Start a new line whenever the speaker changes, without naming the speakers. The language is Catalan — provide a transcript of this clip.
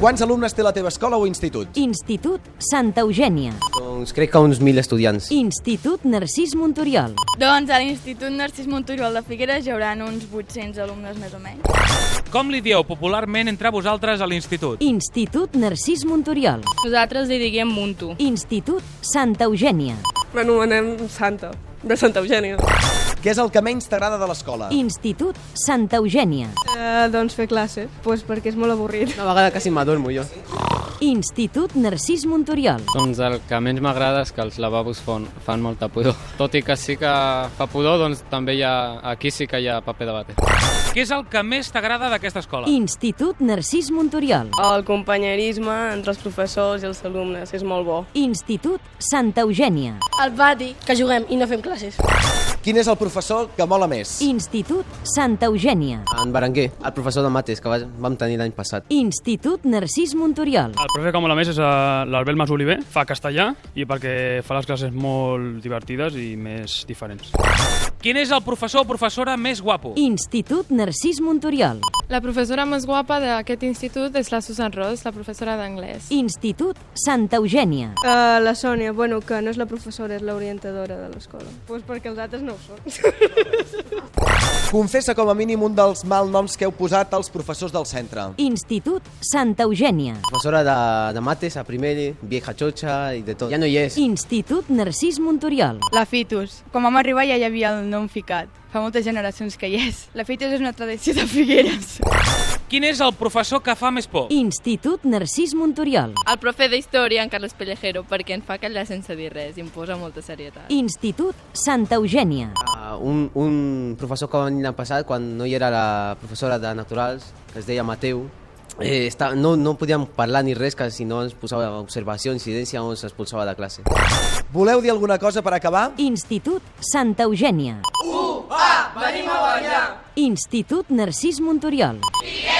Quants alumnes té la teva escola o institut?
Institut Santa Eugènia.
Doncs crec que uns 1.000 estudiants.
Institut Narcís Montoriol.
Doncs a l'Institut Narcís Montoriol de Figueres hi haurà uns 800 alumnes més o menys.
Com li dieu popularment entre vosaltres a l'institut?
Institut Narcís Montoriol.
Nosaltres li diguem Muntu.
Institut Santa Eugènia.
L'anomenem Santa, de Santa Eugènia.
Què és el que menys t'agrada de l'escola?
Institut Santa Eugènia.
Eh, doncs fer classe, pues perquè és molt avorrit.
Una vegada quasi m'adormo jo.
Institut Narcís Montoriol.
Doncs el que menys m'agrada és que els lavabos fan, fan molta pudor. Tot i que sí que fa pudor, doncs també hi ha, aquí sí que hi ha paper de vàter.
Què és el que més t'agrada d'aquesta escola?
Institut Narcís Montoriol.
El companyerisme entre els professors i els alumnes és molt bo.
Institut Santa Eugènia.
El pati.
que juguem i no fem classes.
Quin és el professor que mola més?
Institut Santa Eugènia.
En Berenguer, el professor de mates que va- vam tenir l'any passat.
Institut Narcís Montoriol.
El profe que mola més és eh, l'Albert Mas Oliver, fa castellà i perquè fa les classes molt divertides i més diferents.
Quin és el professor o professora més guapo?
Institut Narcís Montoriol.
La professora més guapa d'aquest institut és la Susan Ross, la professora d'anglès.
Institut Santa Eugènia.
Uh, la Sònia, bueno, que no és la professora, és l'orientadora de l'escola. Pues perquè els altres no ho són.
Confessa com a mínim un dels malnoms que heu posat als professors del centre.
Institut Santa Eugènia.
Professora de, de mates a primer, vieja xocha i de tot. Ja no hi és.
Institut Narcís Montoriol.
La Fitus. Quan vam arribar ja hi havia el nom ficat. Fa moltes generacions que hi és. La Fitus és una tradició de Figueres.
Quin és el professor que fa més por?
Institut Narcís Montoriol.
El profe d'Història, en Carles Pellejero, perquè en fa callar sense dir res i em posa molta serietat.
Institut Santa Eugènia.
Uh, un, un professor que va venir l'any passat, quan no hi era la professora de naturals, que es deia Mateu, eh, està, no, no podíem parlar ni res, que si no ens posava observació, incidència o ens expulsava de classe.
Voleu dir alguna cosa per acabar?
Institut Santa Eugènia. Uh, va, venim a ballar! Institut Narcís Montoriol. Figueres